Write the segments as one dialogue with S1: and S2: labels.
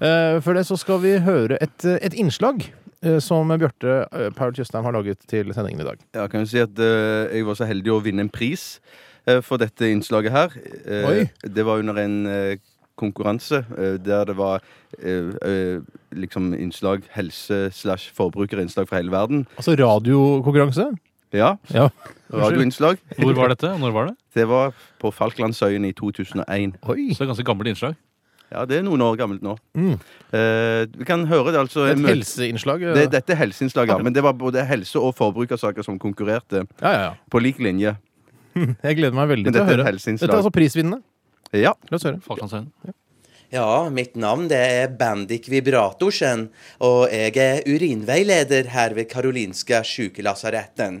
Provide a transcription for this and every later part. S1: Eh, Før det så skal vi høre et, eh, et innslag eh, som Bjarte eh, Paul Tjøstheim har laget til sendingen i dag.
S2: Ja, kan jo si at eh, jeg var så heldig å vinne en pris eh, for dette innslaget her. Eh,
S1: Oi.
S2: Det var under en eh, konkurranse eh, der det var eh, eh, liksom innslag helse slash forbrukerinnslag fra hele verden.
S1: Altså radiokonkurranse.
S2: Ja,
S1: Ja.
S2: radioinnslag.
S3: Hvor var dette, og når var det?
S2: Det var på Falklandsøyene i 2001.
S1: Oi.
S3: Så det er ganske gammelt innslag.
S2: Ja, det er noen år gammelt nå.
S1: Mm.
S2: Eh, vi kan høre det altså.
S1: Et
S2: møte-
S1: helseinnslag. eh.
S2: det, dette er helseinnslaget, men det var både helse- og forbrukersaker som konkurrerte
S1: Ja, ja, ja.
S2: på lik linje.
S1: Jeg gleder meg veldig
S2: Men
S1: til å
S2: dette er et
S1: høre. Dette er
S2: helseinnslag.
S1: altså prisvinnende.
S2: Ja.
S1: La oss høre.
S3: Falklandsøyen.
S4: Ja, mitt navn det er Bendik Vibratorsen, og jeg er urinveileder her ved Karolinska sykelasaretten.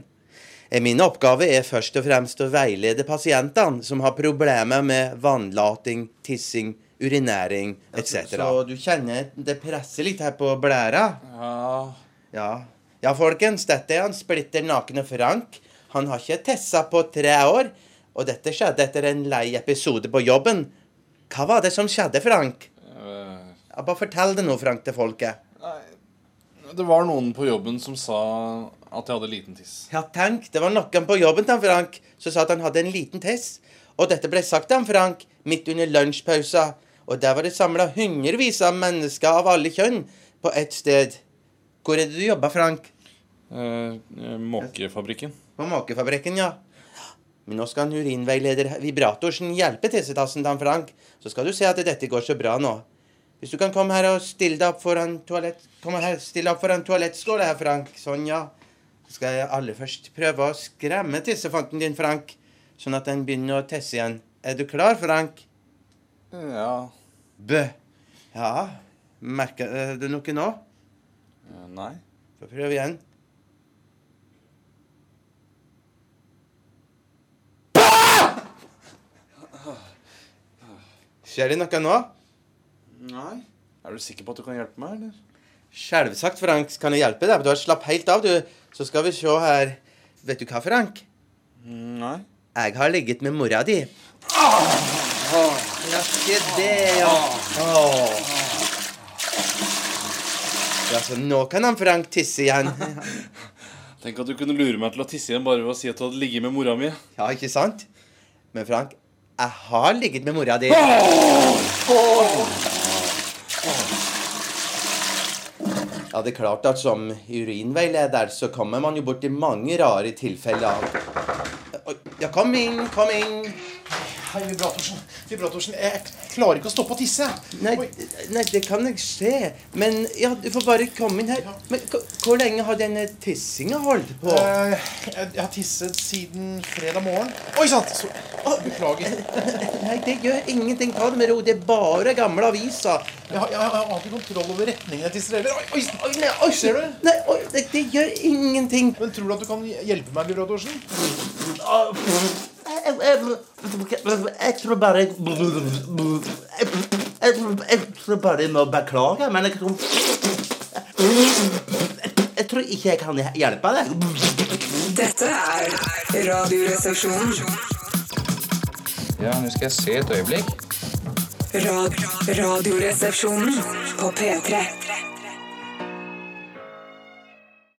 S4: Eh, Min oppgave er først og fremst å veilede pasientene som har problemer med vannlating, tissing, urinering etc. Så du kjenner det presser litt her på blæra? Ja. Ja, folkens, dette er han splitter nakne Frank. Han har ikke tessa på tre år, og dette skjedde etter en lei episode på jobben. Hva var det som skjedde, Frank?
S5: Eh,
S4: Ja, bare fortell det nå, Frank, til folket.
S5: Det var noen på jobben som sa at jeg hadde liten tiss.
S4: Ja, tenk, det var noen på jobben til han Frank som sa at han hadde en liten tiss. Og dette ble sagt til han Frank midt under lunsjpausa. Og der var det samla hundrevis av mennesker av alle kjønn på ett sted. Hvor er det du jobba, Frank?
S5: Eh, eh, Måkefabrikken.
S4: På måkefabrikken, ja. Men nå skal en urinveileder Vibratorsen hjelpe tissetassen til han Frank. Så skal du se at dette går så bra nå. Hvis du kan komme her og stille deg opp foran toalett... Kom her, stille deg opp foran toalettskåla her, Frank. Sånn, ja. Så skal jeg aller først prøve å skremme tissefanten din, Frank. Sånn at den begynner å tisse igjen. Er du klar, Frank?
S5: Ja
S4: Bø. Ja. Merker du noe nå?
S5: eh, Nei.
S4: Får prøve igjen. Skjer det noe nå?
S5: Nei. Er du sikker på at du kan hjelpe meg, eller?
S4: Selvsagt, Frank. Kan jeg hjelpe deg? Du har slapp helt av, du. Så skal vi se her. Vet du hva, Frank?
S5: Nei.
S4: Jeg har ligget med mora di. Ja, se det, ja. Åh. Ja, så nå kan han Frank tisse igjen.
S5: Tenk at du kunne lure meg til å tisse igjen bare ved å si at du hadde ligget med mora mi.
S4: Ja, ikke sant? Men Frank, jeg har ligget med mora di. Ja, det er klart at som urinveileder så kommer man jo borti mange rare tilfeller. Oi, Ja, kom inn, kom inn.
S6: Hei, Vibratorsen. Vibratorsen, jeg jeg klarer ikke å stoppe å tisse. jeg.
S4: Nei,
S6: Oi.
S4: nei, det kan jeg se. Men ja, du får bare komme inn her. Men hvor- hvor lenge har denne tissinga holdt på?
S6: Eh, Jeg, jeg har tisset siden fredag morgen. Oi sant! Så, Å, beklager. Jeg,
S4: Nei, det gjør ingenting. Ta det med ro. Det er bare gamle aviser.
S6: har- jeg, har- jeg har ikke kontroll over retningen jeg tisser heller. Oi, oi, sant.
S4: Oi, nei, oi,
S6: Ser du?
S4: Nei, oi, det, det gjør ingenting.
S6: Men tror du at du kan hjelpe meg, Vibratorsen?
S4: Jeg, jeg, jeg tror bare jeg, jeg, jeg tror bare jeg må beklage, men jeg tror Jeg tror ikke jeg kan hjelpe deg.
S7: Dette er Radioresepsjonen.
S8: Ja, nå skal jeg se et øyeblikk.
S7: Rad radioresepsjonen på P3.